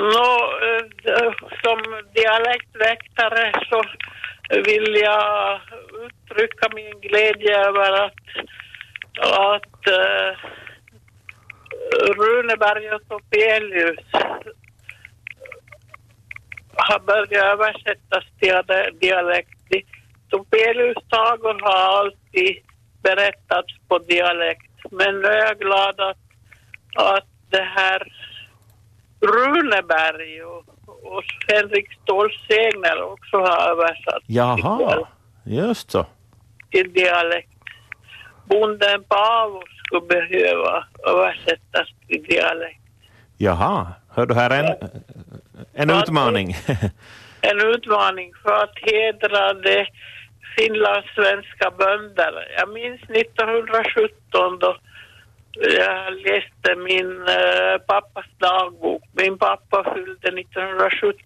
Nå, eh, som dialektväktare så vill jag uttrycka min glädje över att, att eh, Runeberg och Topelius har börjat översättas till dia- dialekt. Topelius sagor har alltid berättats på dialekt, men nu är jag glad att, att det här Runeberg och, och Henrik Ståhls segner också har översatts Jaha, just så. till dialekt. Bonden Paavo skulle behöva översättas till dialekt. Jaha, hör du här en, en utmaning. En utmaning för att hedra de finlandssvenska bönder. Jag minns 1917 då jag läste min eh, pappas dagbok. Min pappa fyllde 1917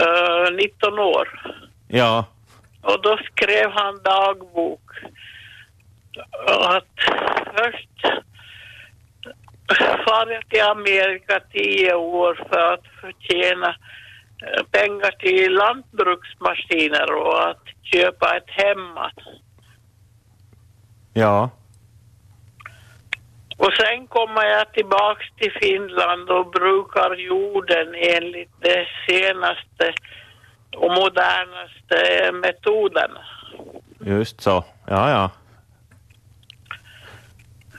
eh, 19 år. ja, Och då skrev han dagbok. Att först far jag till Amerika tio år för att förtjäna eh, pengar till lantbruksmaskiner och att köpa ett hemma. ja, Och sen kommer jag tillbaks till Finland och brukar jorden enligt de senaste och modernaste metoderna. just så. Ja, ja.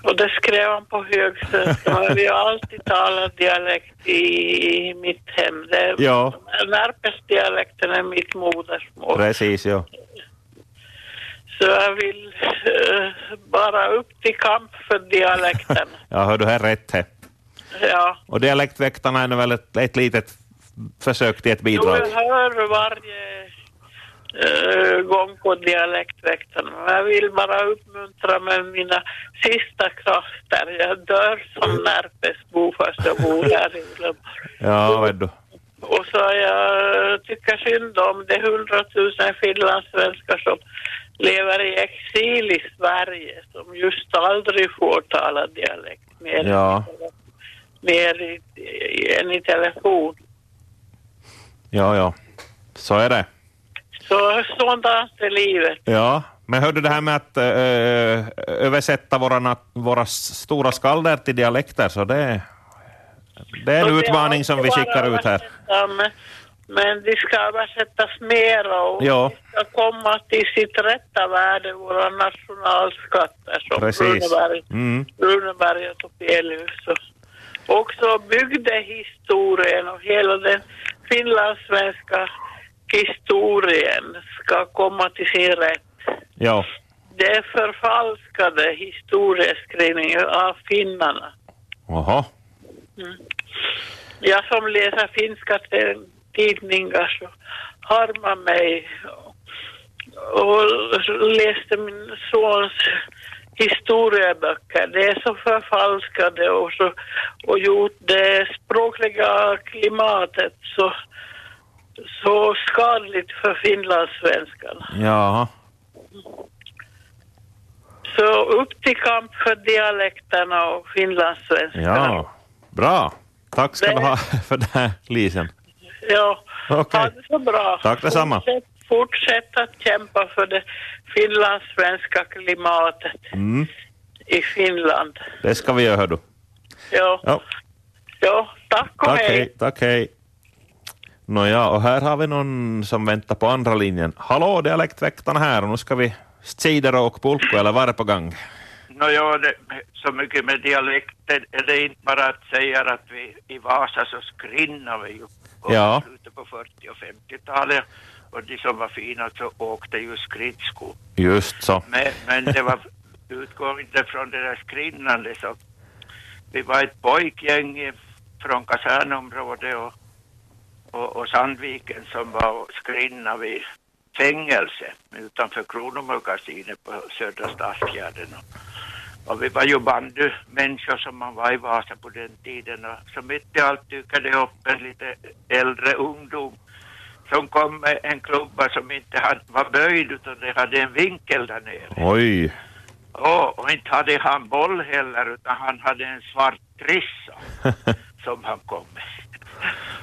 Och det skrev han på högsvenska. Men vi har alltid talat dialekt i mitt hem. Det, Ja. Närpesdialekten är mitt modersmål. Precis, ja. Så jag vill eh, bara upp till kamp för dialekten. Ja, hör du här rätt här. ja. Och dialektväktarna är nu väl ett, ett litet försök till ett Jo, bidrag. jag hör varje eh, gång på dialektväktarna. Men jag vill bara uppmuntra med mina sista krafter. Jag dör Mm. som närpesbo fast jag bor här i Uleå. Ja, vet du. Och så jag tycker synd om de hundratusen finlandssvenskar som lever i exil i Sverige som just aldrig får tala dialekt mer, Ja, mer i, i, än i telefon. ja, ja. Så är det. Så sådant är livet. Ja, men hörde det här med att eh, översätta våra, nat- våra stora skalder till dialekter, så det, det är Så en det utmaning som vi alltid skickar bara ut här. översätta, Men, men de ska översättas mera och Ja. de ska komma till sitt rätta värde, våra nationalskatter som Precis. Runeberg Mm. Runeberg och Topelius. och Också bygdehistorien och hela den finlandssvenska historien ska komma till sin rätt. Ja, Det förfalskade historieskrivningen av finnarna. jaha. Jag som läser finska te- tidningar så harmar mig och läste min sons historieböcker. Det är så förfalskade och, så, och gjort det språkliga klimatet så, så skadligt för finlandssvenskarna. Jaha. Så upp till kamp för dialekterna och finlandssvenskarna. Ja, bra. Tack ska du ha för det här, Lisen. Ja, Okej. ha det så bra. Tack detsamma. Fortsätt, fortsätt att kämpa för det finlandssvenska klimatet Mm, i Finland. det ska vi göra, hör du. Ja, Ja, ja tack och tack, hej. hej. Tack, hej. Nåja, och här har vi någon som väntar på andra linjen. Hallå, dialektväktarna här och nu ska vi strider och pulko, eller vad är det på gång? Nåja, det- så mycket med dialekten är det inte bara att säga att vi i Vasa så skrinnar vi ju på Ja. slutet på 40 och 50-talet och de som var fina så åkte ju skridsko. Just så. Men, men det var utgår inte från det där skrinnande så vi var ett pojkgäng i- från kasernområdet och, och, och Sandviken som var och skrinna vid fängelse utanför Kronomagasinet på Södra Stadsfjärden. Och- Och vi var ju bandymänniskor som man var i Vasa på den tiden och så mitt i allt dyker det upp en lite äldre ungdom som kom med en klubba som inte hade, var böjd utan det hade en vinkel där nere. Oj. Ja, och inte hade han boll heller utan han hade en svart trissa som han kom med.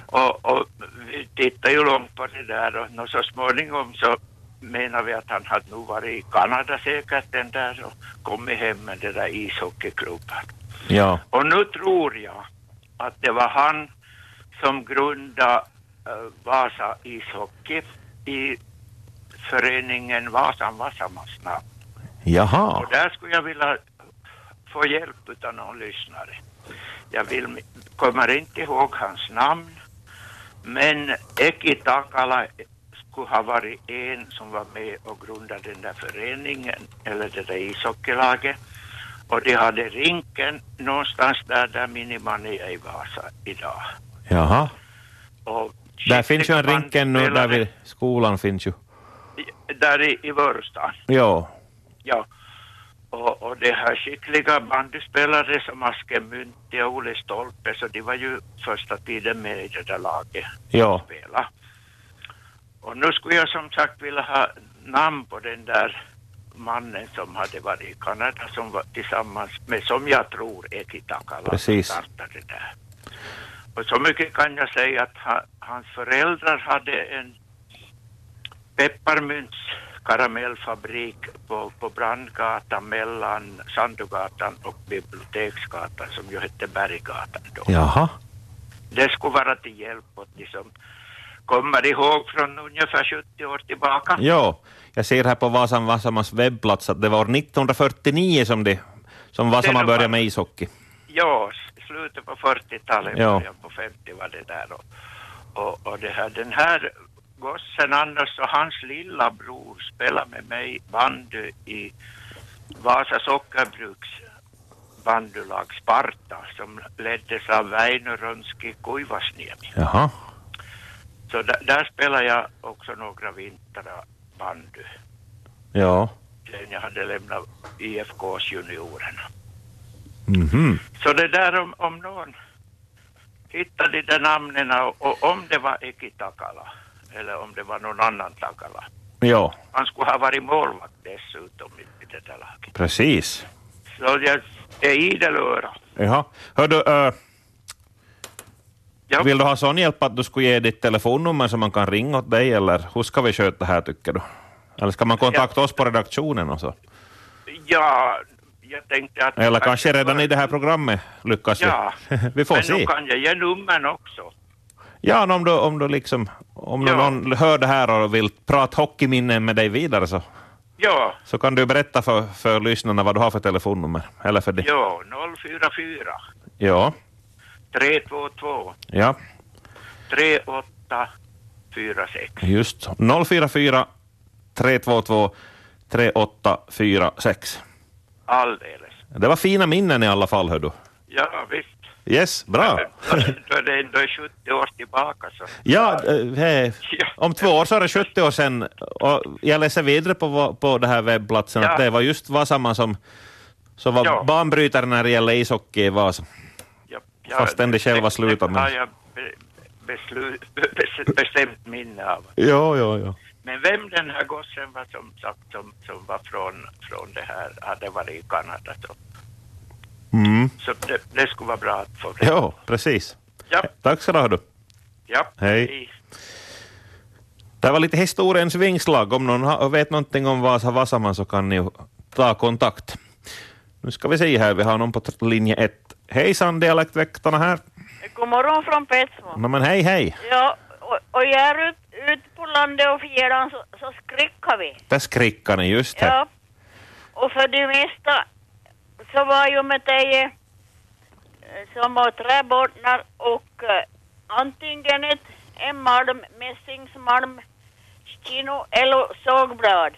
Och, och vi tittade ju långt på det där och nå så småningom så menar vi att han hade nog varit i Kanada säkert den där och kommit hem med den där ishockeyklubban. Ja. Och nu tror jag att det var han som grundade eh, Vasa ishockey i föreningen Vasan Vasamasna. Jaha. Och där skulle jag vilja få hjälp utav någon lyssnare. Jag vill, kommer inte ihåg hans namn, men Eki Takala skulle ha varit en som var med och grundade den där föreningen, eller det där ishockeylaget. Och de hade rinken någonstans där, där Minimania i Vasa idag. Jaha. Och Där finns ju en Schitterband rinken nu, där spelade- vid skolan finns ju. Där i, i Vörstad. Ja. Ja. Och, och de här skickliga bandyspelare som Aske Mynti och Olle Stolpe, så de var ju första tiden med i det där laget Ja. spela. Och nu skulle jag som sagt vilja ha namn på den där mannen som hade varit i Kanada som var tillsammans med, som jag tror, Eki Takala Precis. som startade där. Och så mycket kan jag säga att ha, hans föräldrar hade en pepparmyntskaramellfabrik på, på Brandgatan mellan Sandugatan och Biblioteksgatan som ju hette Berggatan då. Jaha. Det skulle vara till hjälp åt de som kommer ihåg från ungefär 70 år tillbaka. Ja. Jag ser här på Vasan Vasamas webbplats att det var 1949 som, det, som Vasama nog började var- med ishockey. Ja, s- slutet på 40-talet, Ja. början på 50 var det där. Och, och, och det här, den här gossen Anders och hans lilla bror spelade med mig bandy i Vasa Sockerbruks bandylag Sparta som leddes av Väinö Rönski Kuivasniemi. Jaha. Så där, där spelade jag också några vintrar bandy. Ja. sen jag hade lämnat IFKs juniorerna. Mhm. Så det där om, om någon hittade de där namnen och, och om det var Eki Takala eller om det var någon annan Takala. Ja. Han skulle ha varit målvakt dessutom i, i det där laget. Precis. Så jag är idel öra. Jaha. Hör du, äh, Ja. vill du ha sån hjälp att du skulle ge ditt telefonnummer så man kan ringa åt dig eller hur ska vi sköta det här tycker du? Eller ska man kontakta oss på redaktionen och så? Ja, jag tänkte att... Eller att- kanske redan i det här programmet lyckas Ja. vi. vi får Men se. nu kan jag ge numren också. Ja, no, om du, om du liksom, om nu Ja. någon hör det här och vill prata hockeyminnen med dig vidare så, Ja, så kan du berätta för, för lyssnarna vad du har för telefonnummer. Eller för det. ja 044 Ja. 322 Ja, 3846. just 044 322 3846. Alldeles. Det var fina minnen i alla fall, hör du. Ja, visst. Yes, bra. Då är det ändå 70 år tillbaka så. Ja, eh, hej. Ja. om två år så är det 70 år sedan. Och jag läser vidare på, va- på den här webbplatsen Ja. att det var just Vasama som, som var Ja. banbrytare när det gäller ishockey i Vasa. Ja, Fastän det själva slutar, Det men- har jag be- beslu- bes- bestämt minne av. Ja, ja, ja. Men vem den här gossen var som sagt som, som var från, från det här, hade varit i Kanada så, Mm. så det, det skulle vara bra att få det. Jo, precis. Ja, Tack ska du ha. du. ja. Hej. Det var lite historiens vingslag. Om någon ha- vet någonting om Vasa Vasaman så kan ni ju ta kontakt. Nu ska vi se här, vi har någon på t- linje ett. Hejsan, dialektväktarna här. God morgon från Petsmo. No men hej, hej. Ja, och, och jag är ut, ut på landet och fjärran så, så skrickar vi. Där skrickar ni, just det. Ja. Och för det mesta så var ju med dig eh, som åt träbottnar och eh, antingen ett, en malm, mässingsmalm, kino eller sågblad.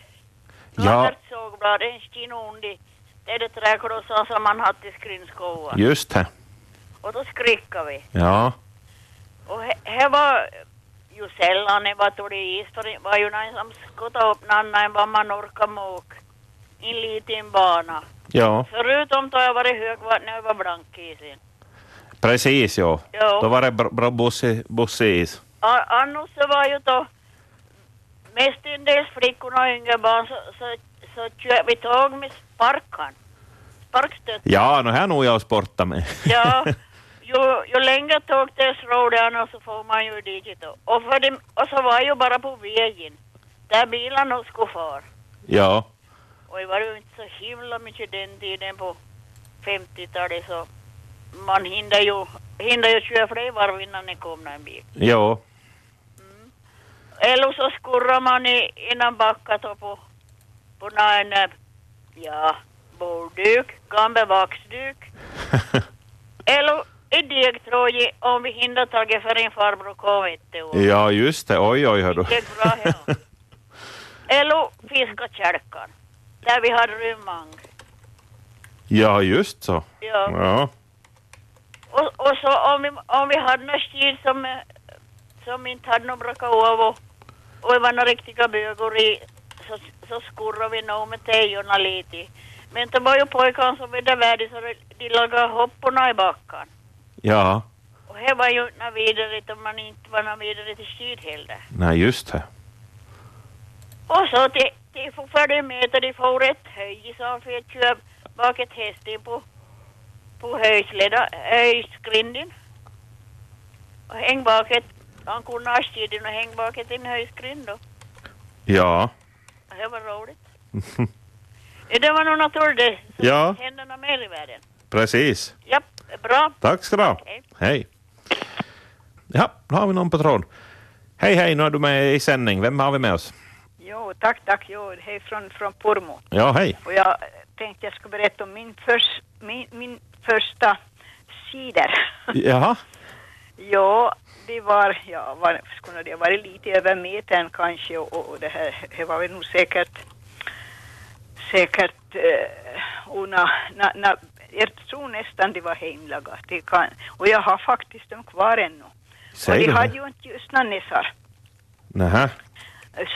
Ja, Sågblad, en kino undi. Det är det träklossar som man har till skrinskoa. just det. Och då skrickar vi. Ja. Och he- här var ju sällan det var tog det is, för det var ju någon som skottade upp någon annan än vad man orkade med och i en liten bana. Ja, Förutom då jag var i högvatten över blankisen. precis ja. Jo. Då var det bra, bra bussi- bussis. A- Annars så var ju då mestendels flickorna och yngre barn så, så, så körde vi tåg med sparkan. Sparkstöt. Ja, nu här nog jag sporta med. Ja, ju, ju längre tågtest rådde och så får man ju dit. då. Och, för dem, och så var jag bara på vägen där bilarna skulle fara. Ja, Och det var ju inte så himla mycket den tiden på 50-talet så man hinner ju, hinner ju köra fler varv innan det kom en bil. ja, Eller så skurrar man i, innan backat och på, på någon, eh, ja, bordduk, gammal vaxduk. Eller i degtråge om vi hinner taget för en farbror kom inte. och- ja just det. Oj, oj, hördu. Det är bra, ja. Eller fiska kälkan, där vi hade rymmang. ja, just så. Ja. Ja, Och, och så om vi, om vi hade någon stil som, eh, som inte hade någon braka av och, och det var några riktiga bögor i så, så skurrade vi nog med tejorna lite. Men det var ju pojkarna som var där värde så de, de lagade hopporna i backen. ja. Och här var ju inte något vidare om man inte var något vidare till syd heller. Nej, just det. Och så till, till får följa med och de får ett höj så han får köpa bak ett hästen på, på höjsleda, höjskrinden. Och häng bak ett, han kunde ha skidorna och häng bak ett i en höjskrind då. Ja, Och Det var roligt. Ja, Det var nog naturligt. Så Ja. händer något mer i världen. precis. Ja, bra. Tack ska du ha. Hej. Hej. Ja, nu har vi någon på tråden. Hej, hej, nu är du med i sändning. Vem har vi med oss? Jo, tack, tack. Jo, hej från, från Pormo. Ja, hej. Och jag tänkte jag skulle berätta om min, förs, min, min första cider. Jaha, ja, det var, ja, var, skulle det ha varit lite över metern kanske och, och det här det var väl nog säkert, säkert, eh, och na, na, na, jag tror nästan det var hemlagat. Det kan, och jag har faktiskt dem kvar ännu. och säg de du hade det. ju inte ljusna näsar. Nähä,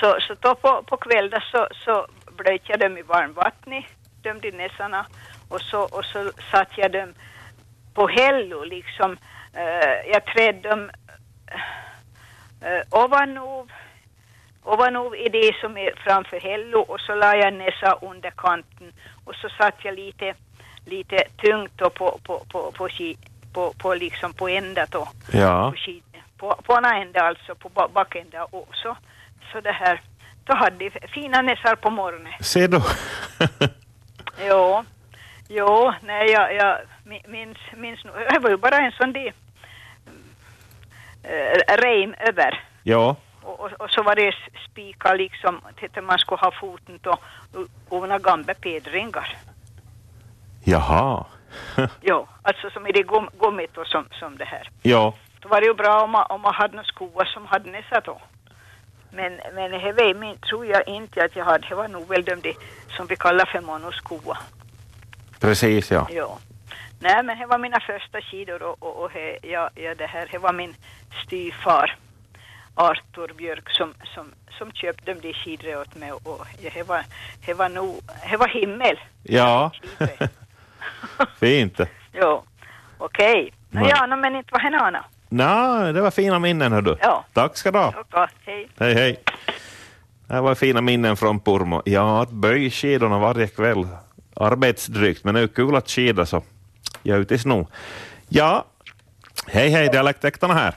Så, så då på, på kvällen så, så blöt jag dem i varmvattnet, dömde näsarna och så, och så satt jag dem på hällo liksom. Eh, jag trädde dem eh, ovanov, ovanov i det som är framför hällo och så la jag näsa under kanten och så satt jag lite, lite tungt då på, på, på, på, på, på, på, liksom på ända då ja. på skidor. På, på ena änden alltså, på ba- bakända och så, så det här. Då hade de fina näsar på morgonen. Se då. Jo, jo, nej jag, jag mi- minns, minns nog. Det var ju bara en sån där äh, reim över. ja, Och, och, och så var det s- spikar liksom, titta man skulle ha foten då, och, och några gamla pedringar. jaha. Jo, alltså som i det gum- gummit och som, som det här. ja, Då var det ju bra om man, om man hade några skor som hade näsa då. Men, men det här var min, tror jag inte att jag hade. Det var nog väl de där som vi kallar för monoskoa. precis ja. Ja. Nej, men det var mina första skidor och, och, och det, ja, ja, det här, det var min styvfar Arthur Björk som, som, som köpte de där skidorna åt mig och, och ja, det var, det var nog, det var himmel. Ja, Skidor. fint. ja, okej. Nej. Okay. Ja, nå, men inte var det något annat. Nej, det var fina minnen hördu. Ja. Tack ska du ha. Okej, hej. Hej, hej. Det här var fina minnen från Purmo. Ja, att böja skidorna varje kväll. Arbetsdrygt, men det är ju kul att skida så jag är ute i sno. Ja, hej hej, dialektäktarna här.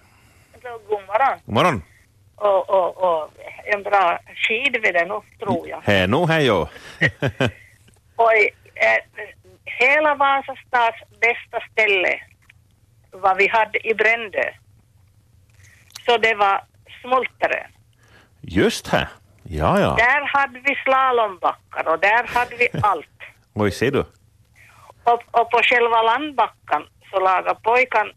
God morgon. God morgon. Och, och, och en bra skid vid den upp, tror jag. Hej nu, hej jo. Och eh, hela Vasastads bästa ställe vad vi hade i Brände. Så det var Smultare. Just här. Ah, Ja, ja. Där hade vi slalombackar och där hade vi allt. Oj, ser du. Och, och på själva landbackan så lagade pojkan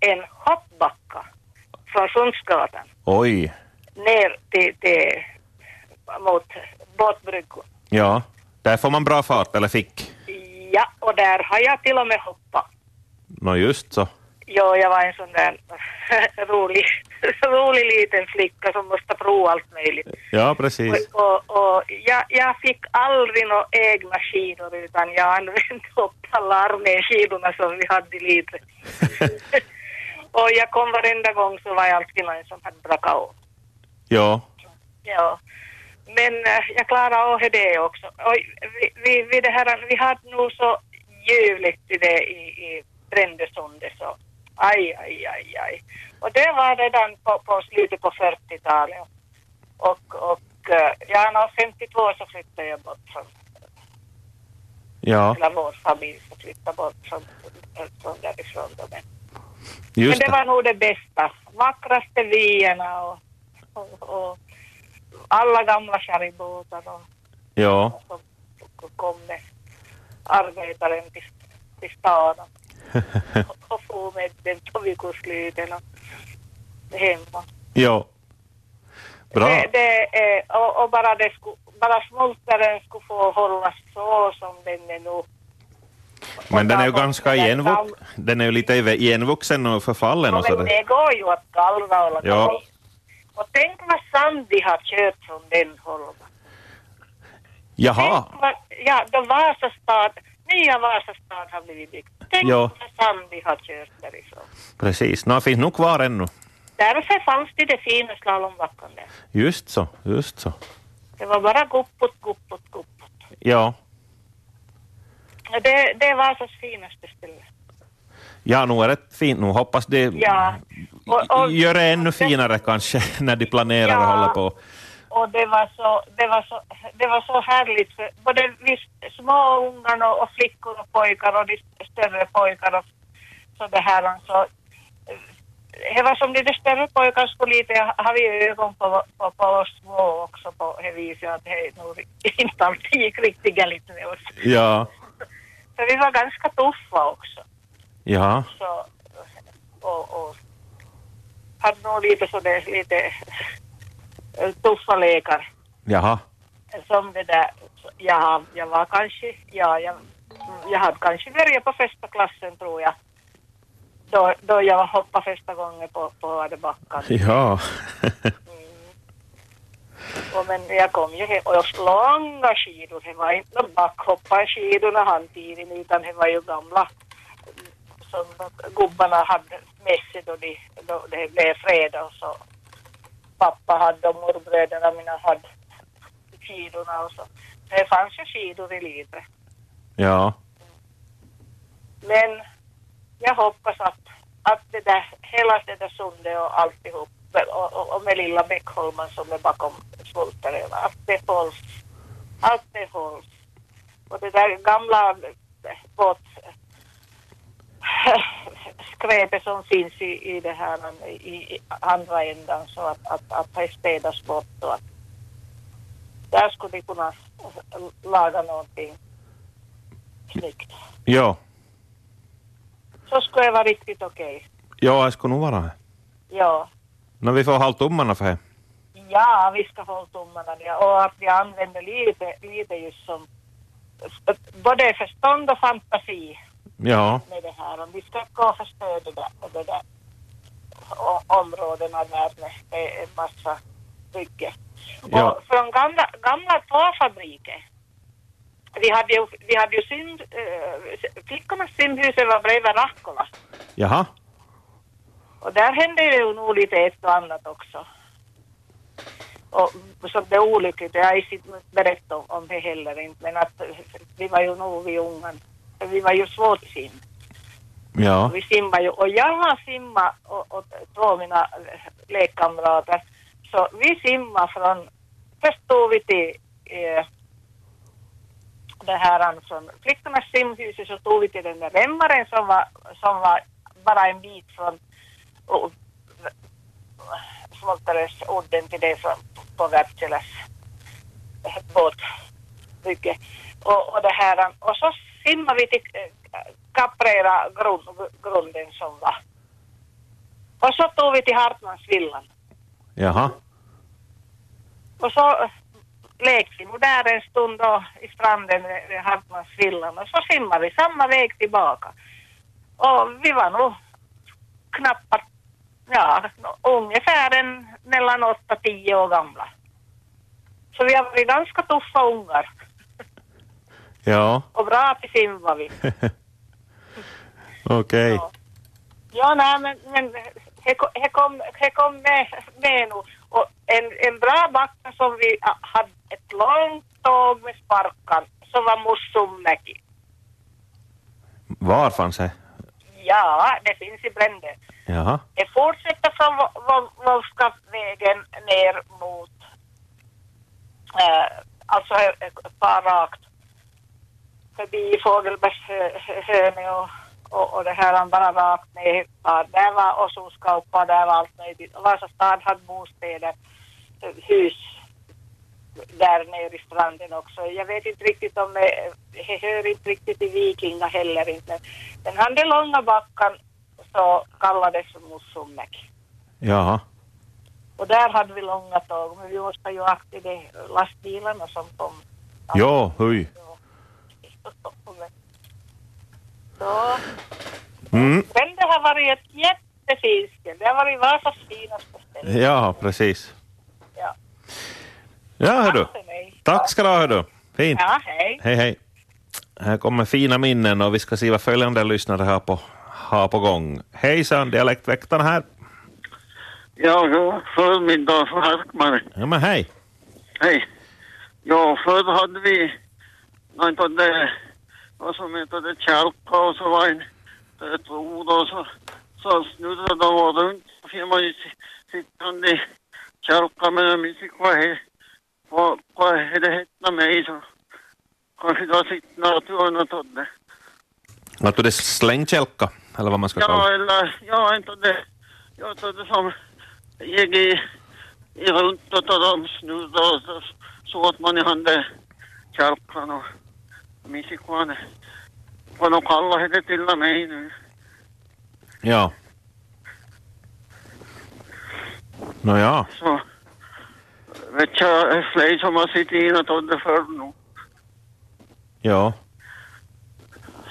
en hoppbacka från Sundsgatan Oj. ner till, till mot båtbryggan. Ja, där får man bra fart, eller fick. Ja, och där har jag till och med hoppat. Nå, just så. Jo, jag var en sån där rolig, rolig liten flicka som måste prova allt möjligt. Ja, precis. Och, och, och jag, jag fick aldrig några egna skidor utan jag använde upp alla arméskidorna som vi hade lite. och jag kom varenda gång så var jag alltid någon som hade brakat av. Ja, Ja. Men eh, jag klarade av det också. Och vi, vi, vi, det här, vi hade nog så ljuvligt i det i, i Brändesundet så Aj, aj, aj, aj. Och det var redan på, på slutet på 40-talet. Och, och eh, ja, när 52 så flyttade jag bort från, Ja, eller vår familj så flyttade bort från, från därifrån. Då. Men, men just det det. var nog det bästa. Vackraste vyerna och, och, och alla gamla charibåtar och, Ja, som kom med arbetaren till, till stan och, och for med den på veckosluten och hemma. ja. Bra. Det, det, är- och, och bara, det sku, bara smultaren skulle få hållas så som den är nu. Men den är ju ganska igenvuxen. Den är ju lite igenvuxen och förfallen och Men sådär. det går ju att gallra och laga Ja. om. Och tänk vad Sandy har kört från den holman. Jaha, Tänk vad, ja, no niin då Vasastad, nya Vasastad har blivit byggt. Tänk Ja. vad Sandy har kört därifrån. precis. Nå, finns nog kvar ännu. Därför fanns det det fina slalombacken där. Just så, just så. Det var bara guppot, guppot, guppot. Ja, Ja, Det, det var så finaste ställe. ja nog är det fint. Nu hoppas det Ja. Och, och, gör det ännu finare kanske när de planerar och Ja. håller på. och det, var så, det, var så, det var så härligt för både vi små ungar och, och flickor och pojkar och de större pojkar och så det här. Så, eh, det var som lite större pojkar skulle lite, har vi ögon på, på, på oss små också på det viset att hej, nu inte alltid gick riktigt galet med oss. Ja, För vi var ganska tuffa också. ja, så, och, och hade nog lite sådär lite eh, tuffa lekar jaha. som det där. Så, Ja, jag var kanske, ja, jag, jag hade kanske börjat på första klassen tror jag. Då, då jag hoppade första gången på, på Vadebackan. Ja, Och men jag kom ju hem och jag skulle långa skidor. Det var inte några backhopparskidorna han tiden utan det var ju gamla som gubbarna hade med sig då, de, då det blev fredag. Så pappa hade och morbröderna mina hade skidorna och så. Det fanns ju skidor i livet. ja, Men jag hoppas att, att det där, hela det där Sunde och alltihop och, och, och med lilla Bäckholmen som är bakom Svultaren, att det hålls. Att det hålls. Och det där gamla eh, båt äh, skräpet som finns i, i det här eh, i, i andra ändan så att, att, att det städas bort och att där skulle vi kunna eh, laga någonting snyggt ja. så skulle det vara riktigt okej. Ja, jag skulle nog vara här. Ja. Nå, vi får hålla tummarna för det. ja, vi ska hålla tummarna där. och att vi använder lite, lite just som både förstånd och fantasi Ja, med det här. Om vi ska gå och förstöra det där, det där o- områdena där med med en massa bygge. Ja. Och från gamla, gamla torrfabriker. Vi hade ju, vi hade ju sim, äh, flickornas simhus var bredvid Rakkola. jaha. Och där hände ju nog lite ett och annat också. Och som det är olyckligt, jag har inte berättat om, om det heller inte, men att vi var ju nog vid ungen. Vi var ju svårt sim. Ja, Vi simmade ju, och jag har simmat och, och två av mina lekkamrater. Så vi simmade från, först tog vi till eh, det här från flickornas simhus och så tog vi till den där remmaren som var, som var bara en bit från och, smoltades udden till det från, på Wärtsiläs båtbygge. Och, och, det här, och så simmade vi till eh, Caprera grund, grunden som var. Och så tog vi till Hartmansvillan. jaha. Och så eh, lekte vi där en stund då i stranden vid- vid Hartmansvillan och så simmade vi samma väg tillbaka. Och vi var nog knappt, ja, no- ungefär en, mellan 8-10 år gamla. Så vi har varit ganska tuffa ungar Ja, och bra till sim var vi. okej. Ja. Ja, nej, men, men he, ko- he kom, he kom med, med nu. Och en, en bra backa som vi ah, hade ett långt tåg med sparkan, som var Mussummäki. Var fanns det? Ja, det finns i Brändö. Jaha. Det fortsätter från Wo- Wo- Wolfskapsvägen ner mot, eh, alltså eh, bara rakt förbi Fågelbergshöne och, och, och det här bara rakt ner. Ja, Där var Åsonskauppa, där var allt möjligt. Och Vasa stad hade bostäder, eh, hus där nere i stranden också. Jag vet inte riktigt om det det hör inte riktigt till vikinga heller inte. Men Den här den långa backan så kallades Mussumäki. Jaha. Och där hade vi långa tåg, men vi måste ju akta de lastbilarna som kom. Joo, hyi. Så. Mm. Men det har varit ett jättefint ställe. Det har varit Vasas finaste ställe. Ja, precis. Ja. Ja, hördu. för mig. Tack ska du ha, hördu. Fint. Ja, hej. Hej, hej. Här kommer fina minnen och vi ska se vad följande lyssnare har på, har på gång. Hejsan, dialektväktaren här. Ja, jo, förmiddag från Harkmark. Ja, men hej. Hej. Ja, förr hade vi något av det, vad som hette kärlka och så var en ett ord och så, så snurrade de runt. Så fick man ju si- sittande i kärlkan men jag minns inte vad, he, vad, vad det hette mig så kanske det var sitt naturen och tog det. Att du det slängkälka, eller vad man ska kalla Ja, det. eller ja, inte det. Jag trodde som gick i, i runt och de snurrade och så så att man i handen kärkan och minns inte vad det- vad de kallade det till och med nu. Ja. Nå ja. Så vet jag fler som har suttit in och trodde förr nu. ja.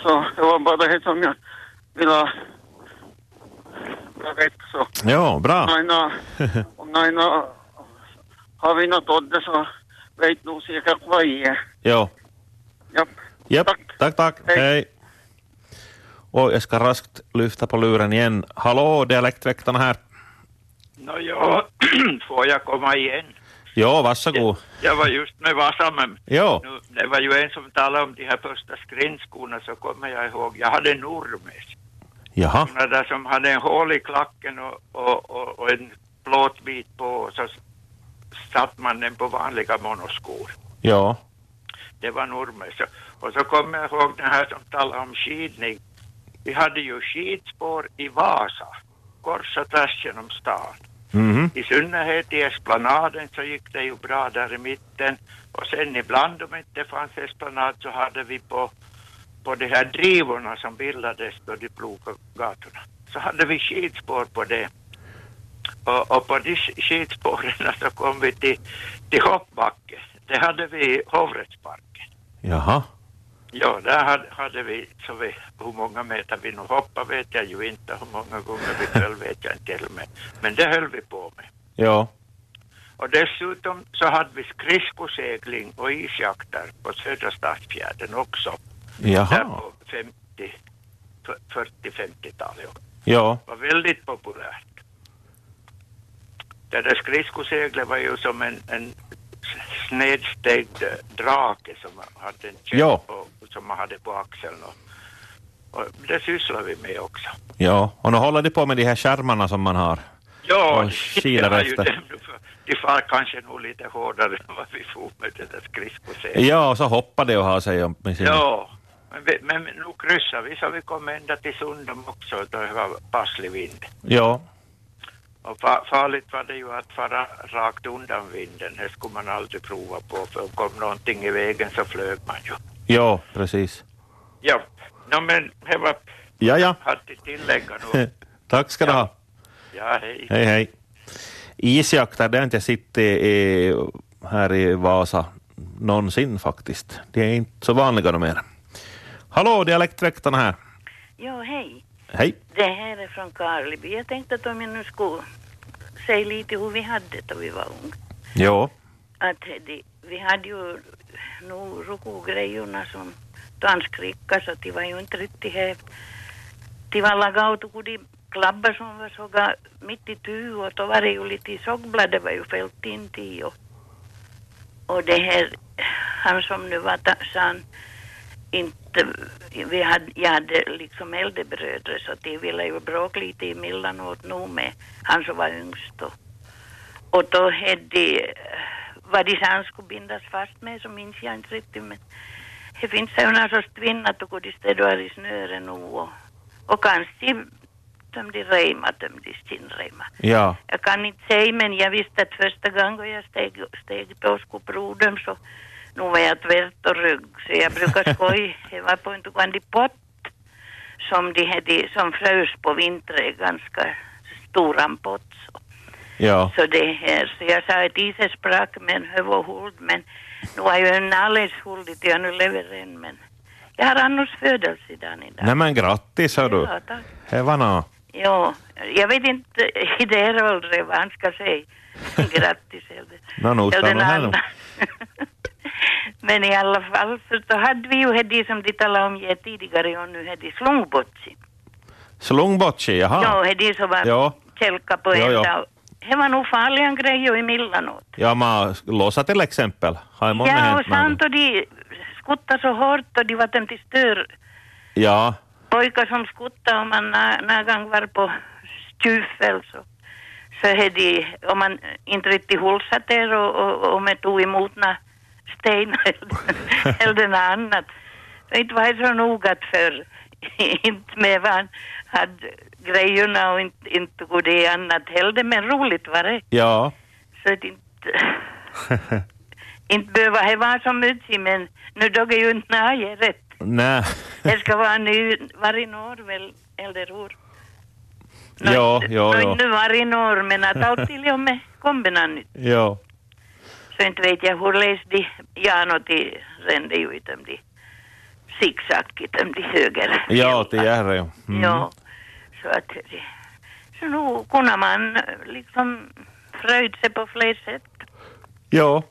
Så det var bara det som jag ville jag vet så. Ja, bra. Nej, nej. Om någon har vi något åt det så vet nog säkert vad det är. Ja. Japp. Japp. Tack. Tack, tack. Hej. Hej. Och jag ska raskt lyfta på luren igen. Hallå, dialektväktaren här. Nå ja, får jag komma igen? Ja, varsågod. Jag var just med Vasa, men Ja. nu, det var ju en som talade om de här första skridskorna, så kommer jag ihåg. Jag hade en ormes. Jaha. Såna där som hade en hål i klacken och, och, och, och en plåtbit på och så satt man den på vanliga monoskor. Ja. Det var en ormes. Och så kommer jag ihåg den här som talade om skidning. Vi hade ju skidspår i Vasa, kors och tvärs genom stan. Mhm. I synnerhet i esplanaden så gick det ju bra där i mitten. Och sen ibland om inte fanns esplanad så hade vi på, på de här drivorna som bildades då de plogade gatorna. Så hade vi skidspår på det. Och, och på de sk- skidspåren så kom vi till, till hoppbacke. Det hade vi i Hovrättsparken. Jaha. Ja, där hade, hade vi, så vi, hur många meter vi nu hoppade vet jag ju inte, hur många gånger vi höll vet jag inte heller, men, men det höll vi på med. Ja. Och dessutom så hade vi skridskosegling och isjakter på södra Stadsfjärden också. Där Jaha. på 50, f- 40-50-talet. Ja. Det var väldigt populärt. Det där skridskoseglet var ju som en, en s- snedstängd eh, drake som man hade en käpp Ja. och, som man hade på axeln. Och, och det sysslade vi med också. Ja. Och nu håller de på med de här skärmarna som man har. Ja, Och det kilar var ju efter. dem. De far kanske nog lite hårdare än vad vi får med det där skridskoseglet. Ja, och så hoppar de och har sig om med sina... Ja, men, vi, men nu kryssade vi så vi kom ända till Sundom också och det var passlig vind. Ja. Och fa- farligt var det ju att fara rakt undan vinden. Det skulle man aldrig prova på för kom någonting i vägen så flög man ju. Ja, precis. Ja, no, men det var... Ja, ja. Hade att tillägga nu. Tack ska du ha. Ja, hej. Hej, hej. Isjakter, det har inte jag sett i, i, här i Vasa någonsin faktiskt. Det är inte så vanliga numera. Hallå, dialektväktarna här. Ja, hej. Hej. Det här är från Karleby. Jag tänkte att om jag nu skulle säga lite hur vi hade då vi var unga. Ja. Att det, vi hade ju nog rokogrejorna som danskricka så det var ju inte riktigt här. Det var lagat och de klabbar som var såga mitt i tu och då var det ju lite sågblad, det var ju fält in till och, och det här, han som nu var ta- sa han, inte, vi hade, jag hade liksom äldre bröder så de ville ju bråka lite emellanåt nog med han som var yngst då. Och då hade de, vad de sen skulle bindas fast med så minns jag inte riktigt men det finns ju någon sorts tvinna då går de städar i snören och, och kanske tömde reima, tömde skinnreima. Ja. Jag kan inte säga men jag visste att första gången jag steg, steg på skoprodern så nu var jag tvärt och rygg så jag brukar skoja. Det var på en tokande pott som de hade, som frös på vintern, ganska stor pott. Så. Ja. så det här, så jag sa att isen sprack men det var huld men nu är ju en alldeles huldig jag nu lever än men jag har annars födelsedagen idag. Nej men grattis hör du. Ja, tack. Hevana. Ja, jag vet inte i det här åldern vad han ska säga. Grattis eller, No, no, eller utan något här nu. annat. Men i alla fall så då hade vi ju det som de talade om här tidigare och nu är det slungbotsi. Slungbocci, jaha. Ja, det är som var Ja. kälka på Ja, en ja. dag. Det var nog farliga grejer emellanåt. Ja, mä losa till exempel. Har jag månne Ja, och hänt någon? sant och de skuttade så hårt och de var dem till stör. Ja, pojkar som skuttade om man någon gång var på stjufel så, så hade de, om man inte riktigt hulsat er och, och, och man tog emot några stenar eller- eller något annat. Så inte var det så noga för inte med vad han hade grejerna och inte, inte tog det annat heller, men roligt var det. ja. Så att inte, inte behöva det vara så mycket, men nu dog ju inte naget rätt. Nä. Det ska vara nu varje år väl, eller hur? Ja, ja, Nå, ja. Nu varje år, men att alltid om med kombina nytt. Ja. Så inte vet jag hur läs de, ja, nå, de rände ju ut om de zigzaggigt om de höger. Ja, till Järre. ja. Mm. Ja, så att det- så nu kunde man liksom fröjd sig på fler sätt. Ja.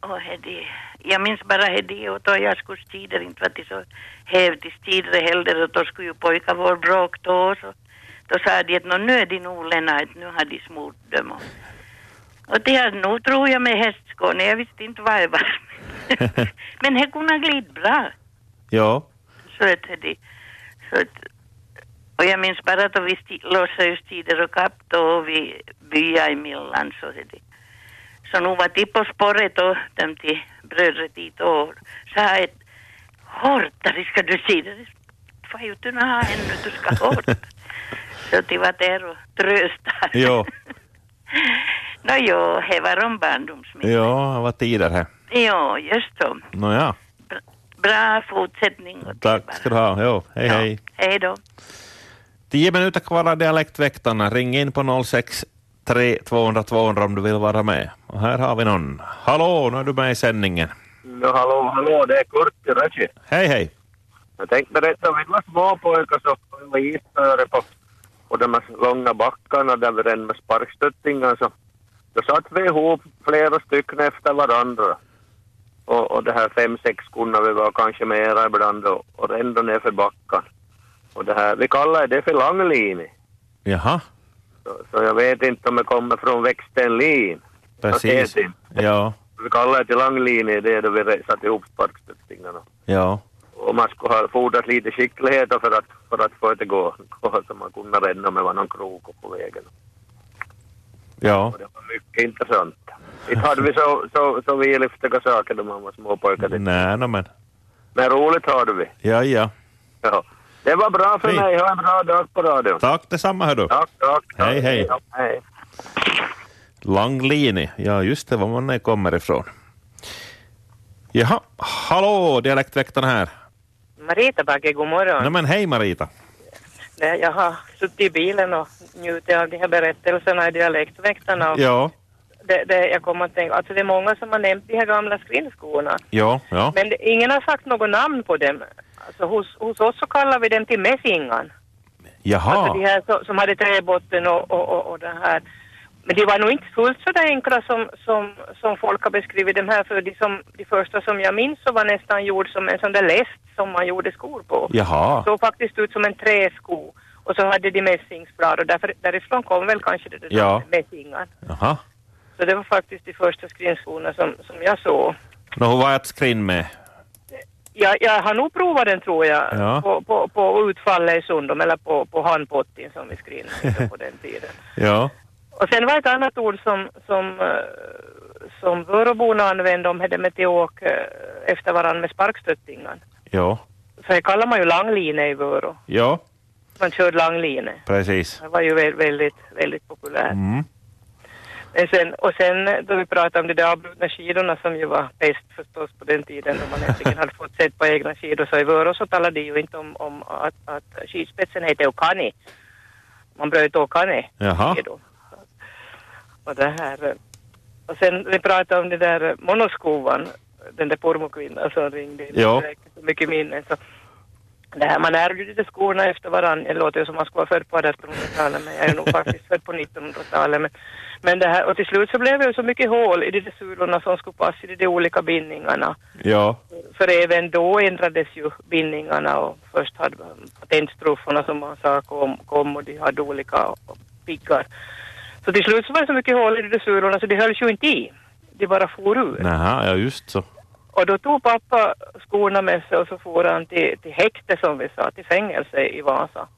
Och det, jag minns bara det och då jag skulle stider inte var det så hävdigt stider heller och då skulle ju pojkar vår bråk då så då sa de att "Nå, nu är de nog Lena, att nu har de smort dem och, och det hade nog tror jag med hästskåne, jag visste inte vad det var. Men det kunde glida bra. Ja. Så att det, så att, och jag minns bara att vi sti- lossade ju stider och kapp då och vi byade emellan så det. Så nu var de på spåret och de till brödet dit och sa att hårdare ska du se det. Får ju inte ha ännu, du ska hårt. så de var där och tröstade. Ja. Nå jo, det var om barndomsminnen. Ja, vad tider här. Ja, just så. Nå ja. Bra fortsättning. åt er Tack bara. ska du ha. Jo, hej hej. Hej då. Tio minuter kvar av Dialektväktarna. Ring in på 063 200 200 om du vill vara med. Och här har vi någon. Hallå, nu är du med i sändningen. No hallå, hallå, det är Kurt i Rödsjö. Hej hej. Jag tänkte berätta om vi var småpojkar så var vi isnöre på, på de här långa backarna där vi rände med sparkstöttingar så då satt vi ihop flera stycken efter varandra. Och, och det här fem, sex kunde vi var kanske mera ibland och, och rände ner för backen. Och det här, vi kallar det för langlini. Jaha, Så, så jag vet inte om det kommer från växten lin. precis. Okej, Ja, Vi kallar det till langlini, det är då vi re- satte ihop sparkstöttingarna. ja. och man skulle ha fordrat lite skicklighet för att, för att få det gå, gå så man kunde ränna med någon krok upp på vägen. Ja, Och det var mycket intressant. Inte hade vi så, så, så vidlyftiga saker när man var småpojkar. nej no, men. Men roligt hade vi. Ja, ja. Ja. Det var bra för Fint. mig. Ha en bra dag på radion. Tack detsamma hör du. Tack, tack. tack. Hej, hej. Ja, hej. Langlini, ja just det, var man nu kommer ifrån. Jaha, hallå, dialektväktarna här. Marita Bagge, god morgon. Nej men hej Marita. Nej, Jag har suttit i bilen och njutit av de här berättelserna i dialektväktarna. Och Ja, det, det, jag kommer att tänka, alltså det är många som har nämnt de här gamla skrivskorna. ja, ja. Men det, ingen har sagt något namn på dem. Alltså hos, hos oss så kallar vi dem till mässingan. Alltså de Jaha, här så, som hade träbotten och, och, och, och det här. Men de var nog inte fullt så där enkla som, som, som folk har beskrivit dem här. För de, som, de första som jag minns så var nästan gjord som en sån där läst som man gjorde skor på. jaha. såg faktiskt ut som en träsko och så hade de mässingsblad och därför, därifrån kom väl kanske det där Ja. mässingar. Jaha. Så det var faktiskt de första skrinskorna som, som jag såg. Nå, hur var ert skrin med? Jag, jag har nog provat den tror jag Ja. på, på, på utfallet i Sundom eller på, på handpottin som vi skrev på den tiden. Ja. Och sen var ett annat ord som, som, eh, som Vöråborna använde om hade med till åk eh, efter varandra med sparkstöttingen. Ja. Så det kallar man ju langline i Vörå. Ja. Man körde langline. Precis. Det var ju vä- väldigt, väldigt populärt. Mm. Men Eh, sen, och sen då vi pratade om de där avbrutna skidorna som ju var bäst förstås på den tiden då man äntligen hade fått sett på egna skidor så i Vörå så talade de ju inte om, om att, att skidspetsen heter Okani. Man bröt Okani. Jaha. skidor. Och det här. eh, Och sen vi pratade om det där eh, monoskovan, den där pormokvinnan som ringde in. Ja. Det är så mycket minnen så. Det här, man ärvde ju de skorna efter varandra. Det låter ju som man skulle vara född på 1800-talet men jag är nog faktiskt född på 1900-talet. Men, men det här, och till slut så blev det ju så mycket hål i de där sulorna som skulle passa i de där olika bindningarna. Ja. För även då ändrades ju bindningarna och först hade man patentstruffarna som man sa kom, kom och de hade olika piggar. Så till slut så var det så mycket hål i de där sulorna så de hölls ju inte i. De bara for ur. Nähä, ja just så. Och då tog pappa skorna med sig och så for han till, till häkte som vi sa, till fängelse i Vasa.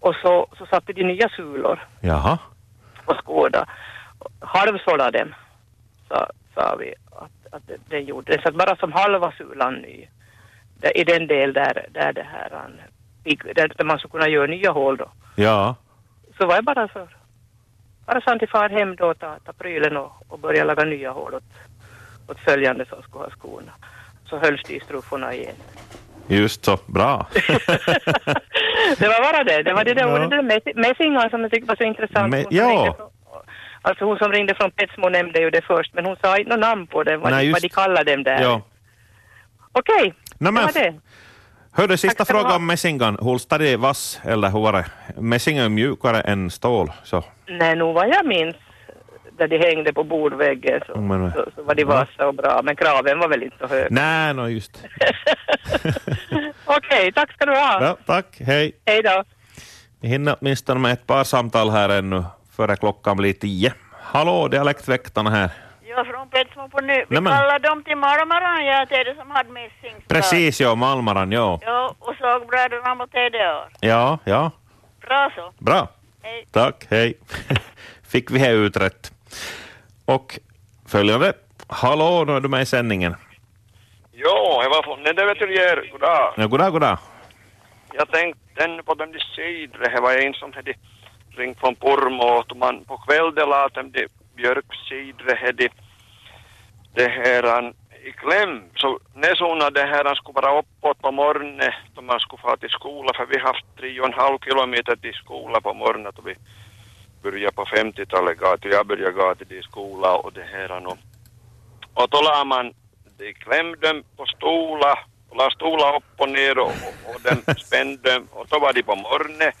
Och så, så satte de nya sulor Jaha. på skåda. Halvsålla dem, sa, sa vi att, att den- den gjorde. Den satt bara som halva sulan ny. Där, I den del där, där det här han, fick- där, där man skulle kunna göra nya hål då. Ja. Så var det bara så. Bara sa han till far hem då, ta, ta prylen och, och börja laga nya hål åt, åt följande som skulle ha skorna. Så hölls de i strufforna igen. Just så. Bra. det var bara Eh, det. Det var det där Ja. ordet, ja. mässingar, som jag tyckte var så intressant. Men, Hon som ja. ringde från- Alltså hon som ringde från Petsmo nämnde ju det först, men hon sa inte något namn på det, vad, Nej, de, just. vad de kallar dem där. Ja. Okej, Nej, det men- var det. Hörde sista ska du ha. frågan om mässingen. Hur stadig vass eller hur var det? Mässingen är mjukare än stål. Så. Nej, nog vad jag minns, där de hängde på bordväggen så, Oh, Men, så, så var de vassa och bra, men kraven var väl inte så hög. nej, no, just. Okej, tack ska du ha. Ja, tack, hej. Hej då. Vi hinner åtminstone med ett par samtal här ännu före klockan blir tio. Hallå, dialektväktarna här. Jag är från Petsmo på nu. Vi Nämen. kallar dem till Marmaran, jag är det som hade mässing. Precis, ja, Malmaran, ja. Ja, och sågbröderna mot TDR. Ja, ja, Bra så. bra. Hej. Tack, hej. Fick vi här utrett. Och följande. Hallå, nu är du med i sändningen. Jo, jag var från Nedervetelier. Goddag. Ja, goddag, goddag. Jag tänkte ännu på dem de sidre. Det var en som hade ringt från Pormo och man på kvällen la dem de björksidre hade det här han i kläm. Så näsorna det här han skulle vara uppåt på morgonen då man skulle få till skolan för vi haft tre och en halv kilometer till skolan på morgonen då vi började på 50-talet gatu. Jag började gatu till skolan och det här han och, och då la man de klämde dem på stolar och la stolar upp och ner och, och, och den spände dem. och då var de på morgonen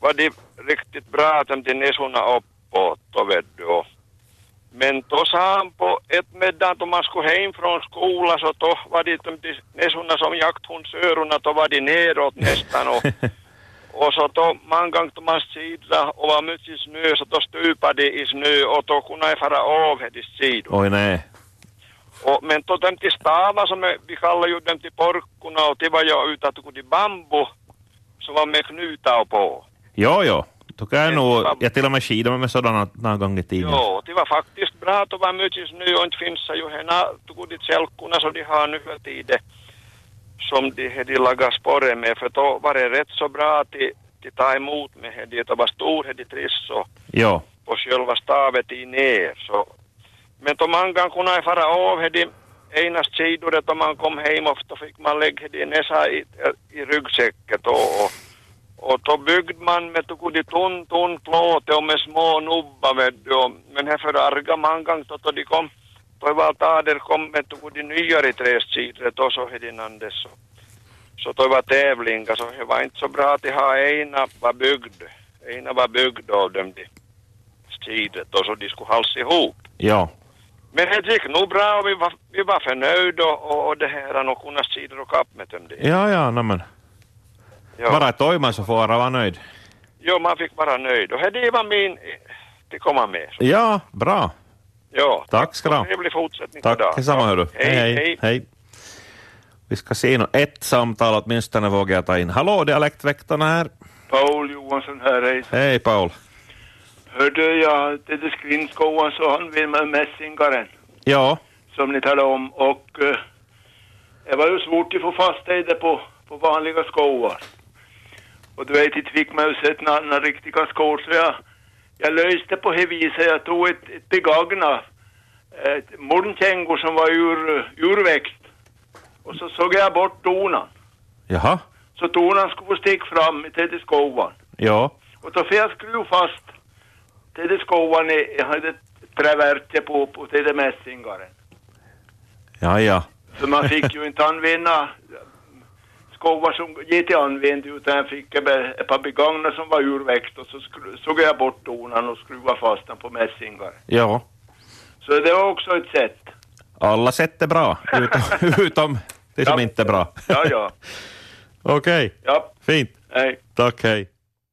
var de riktigt bra att de till näsorna uppåt då vet du. Och- Men då sa han på ett middag då man skulle hem från skolan så då var de de till näsorna som jakthundsörona då var de neråt nästan och och så då man gång då man sidla och var mycket snö så då stupade de i snö och då kunde jag fara av de sidor. Oj, nej. Och, men då dem till stavar som är- vi kallar ju dem till porkuna och det var jag ute att gå till bambu som var med knutar på. Ja, ja. Då kan jag nog... Jag till och med skidade med sådana någon gång i tiden. Ja, det var faktiskt bra att det var mycket snö och inte finns så ju hena tog de kälkorna som de har nu för tiden som de hade lagat sporre med för då var det rätt så bra att de, de ta emot med det. Det var stor, det triss och Ja. på själva stavet i ner. Så. Men då man kan kunna fara av hedi ena sidan då man kom hem och då fick man lägga hedi näsa i, i ryggsäcket och, och, och då byggde man med tukudi tunn, tunn plåte och med små nubbar vet du. Och- Men här för arga man kan då, då de kom då var tader kom med tukudi nyare träsidor då så hedi nandes så. Så då var tävlingar så det var inte så bra att ha ena var byggd. Ena var byggd av dem de tidet och så de skulle halsa ihop. Ja. Men det gick nog bra och vi var, vi var förnöjda och, och, och det här och kunna sidor och kapp med dem. det. Ja, ja, no, men. Ja. Bara ett ojman så får jag vara nöjd. Jo, man fick vara nöjd och det var min, det kommer med. Så, Ja, bra. ja. Tack ska du ha. niin Trevlig fortsättning på Tack dagen. detsamma hördu. Hej, hej. hej. Vi ska se nå ett samtal åtminstone vågar jag ta in. Hallå, dialektväktarna här. Paul Johansson här, hej. Hej Paul. Hörde jag att det är Skrinskoan så han vill med mässingaren Ja, som ni talade om och eh, det var ju svårt att få fast det på, på vanliga skoar. Och du vet, inte fick man ju sett några andra riktiga skor så jag, jag löste på det viset. Jag tog ett, ett begagnat, ett morgonkängor som var ur, urväxt och så såg jag bort donan. jaha, Så donan skulle få sticka fram i tredje skoan. ja, Och då får jag skruva fast till skovan i, jag hade traverte på, på till det mässingaren. ja, ja. För man fick ju inte använda skovar som GT använde utan jag fick ett be- ett par begagna som var urväxt och så skru- såg jag bort donan och skruvade fast den på mässingaren. ja. Så det var också ett sätt. Alla sätt är bra, utom, utom det som inte är bra. Ja, ja. Okej, Ja. fint. Nej. Tack, hej.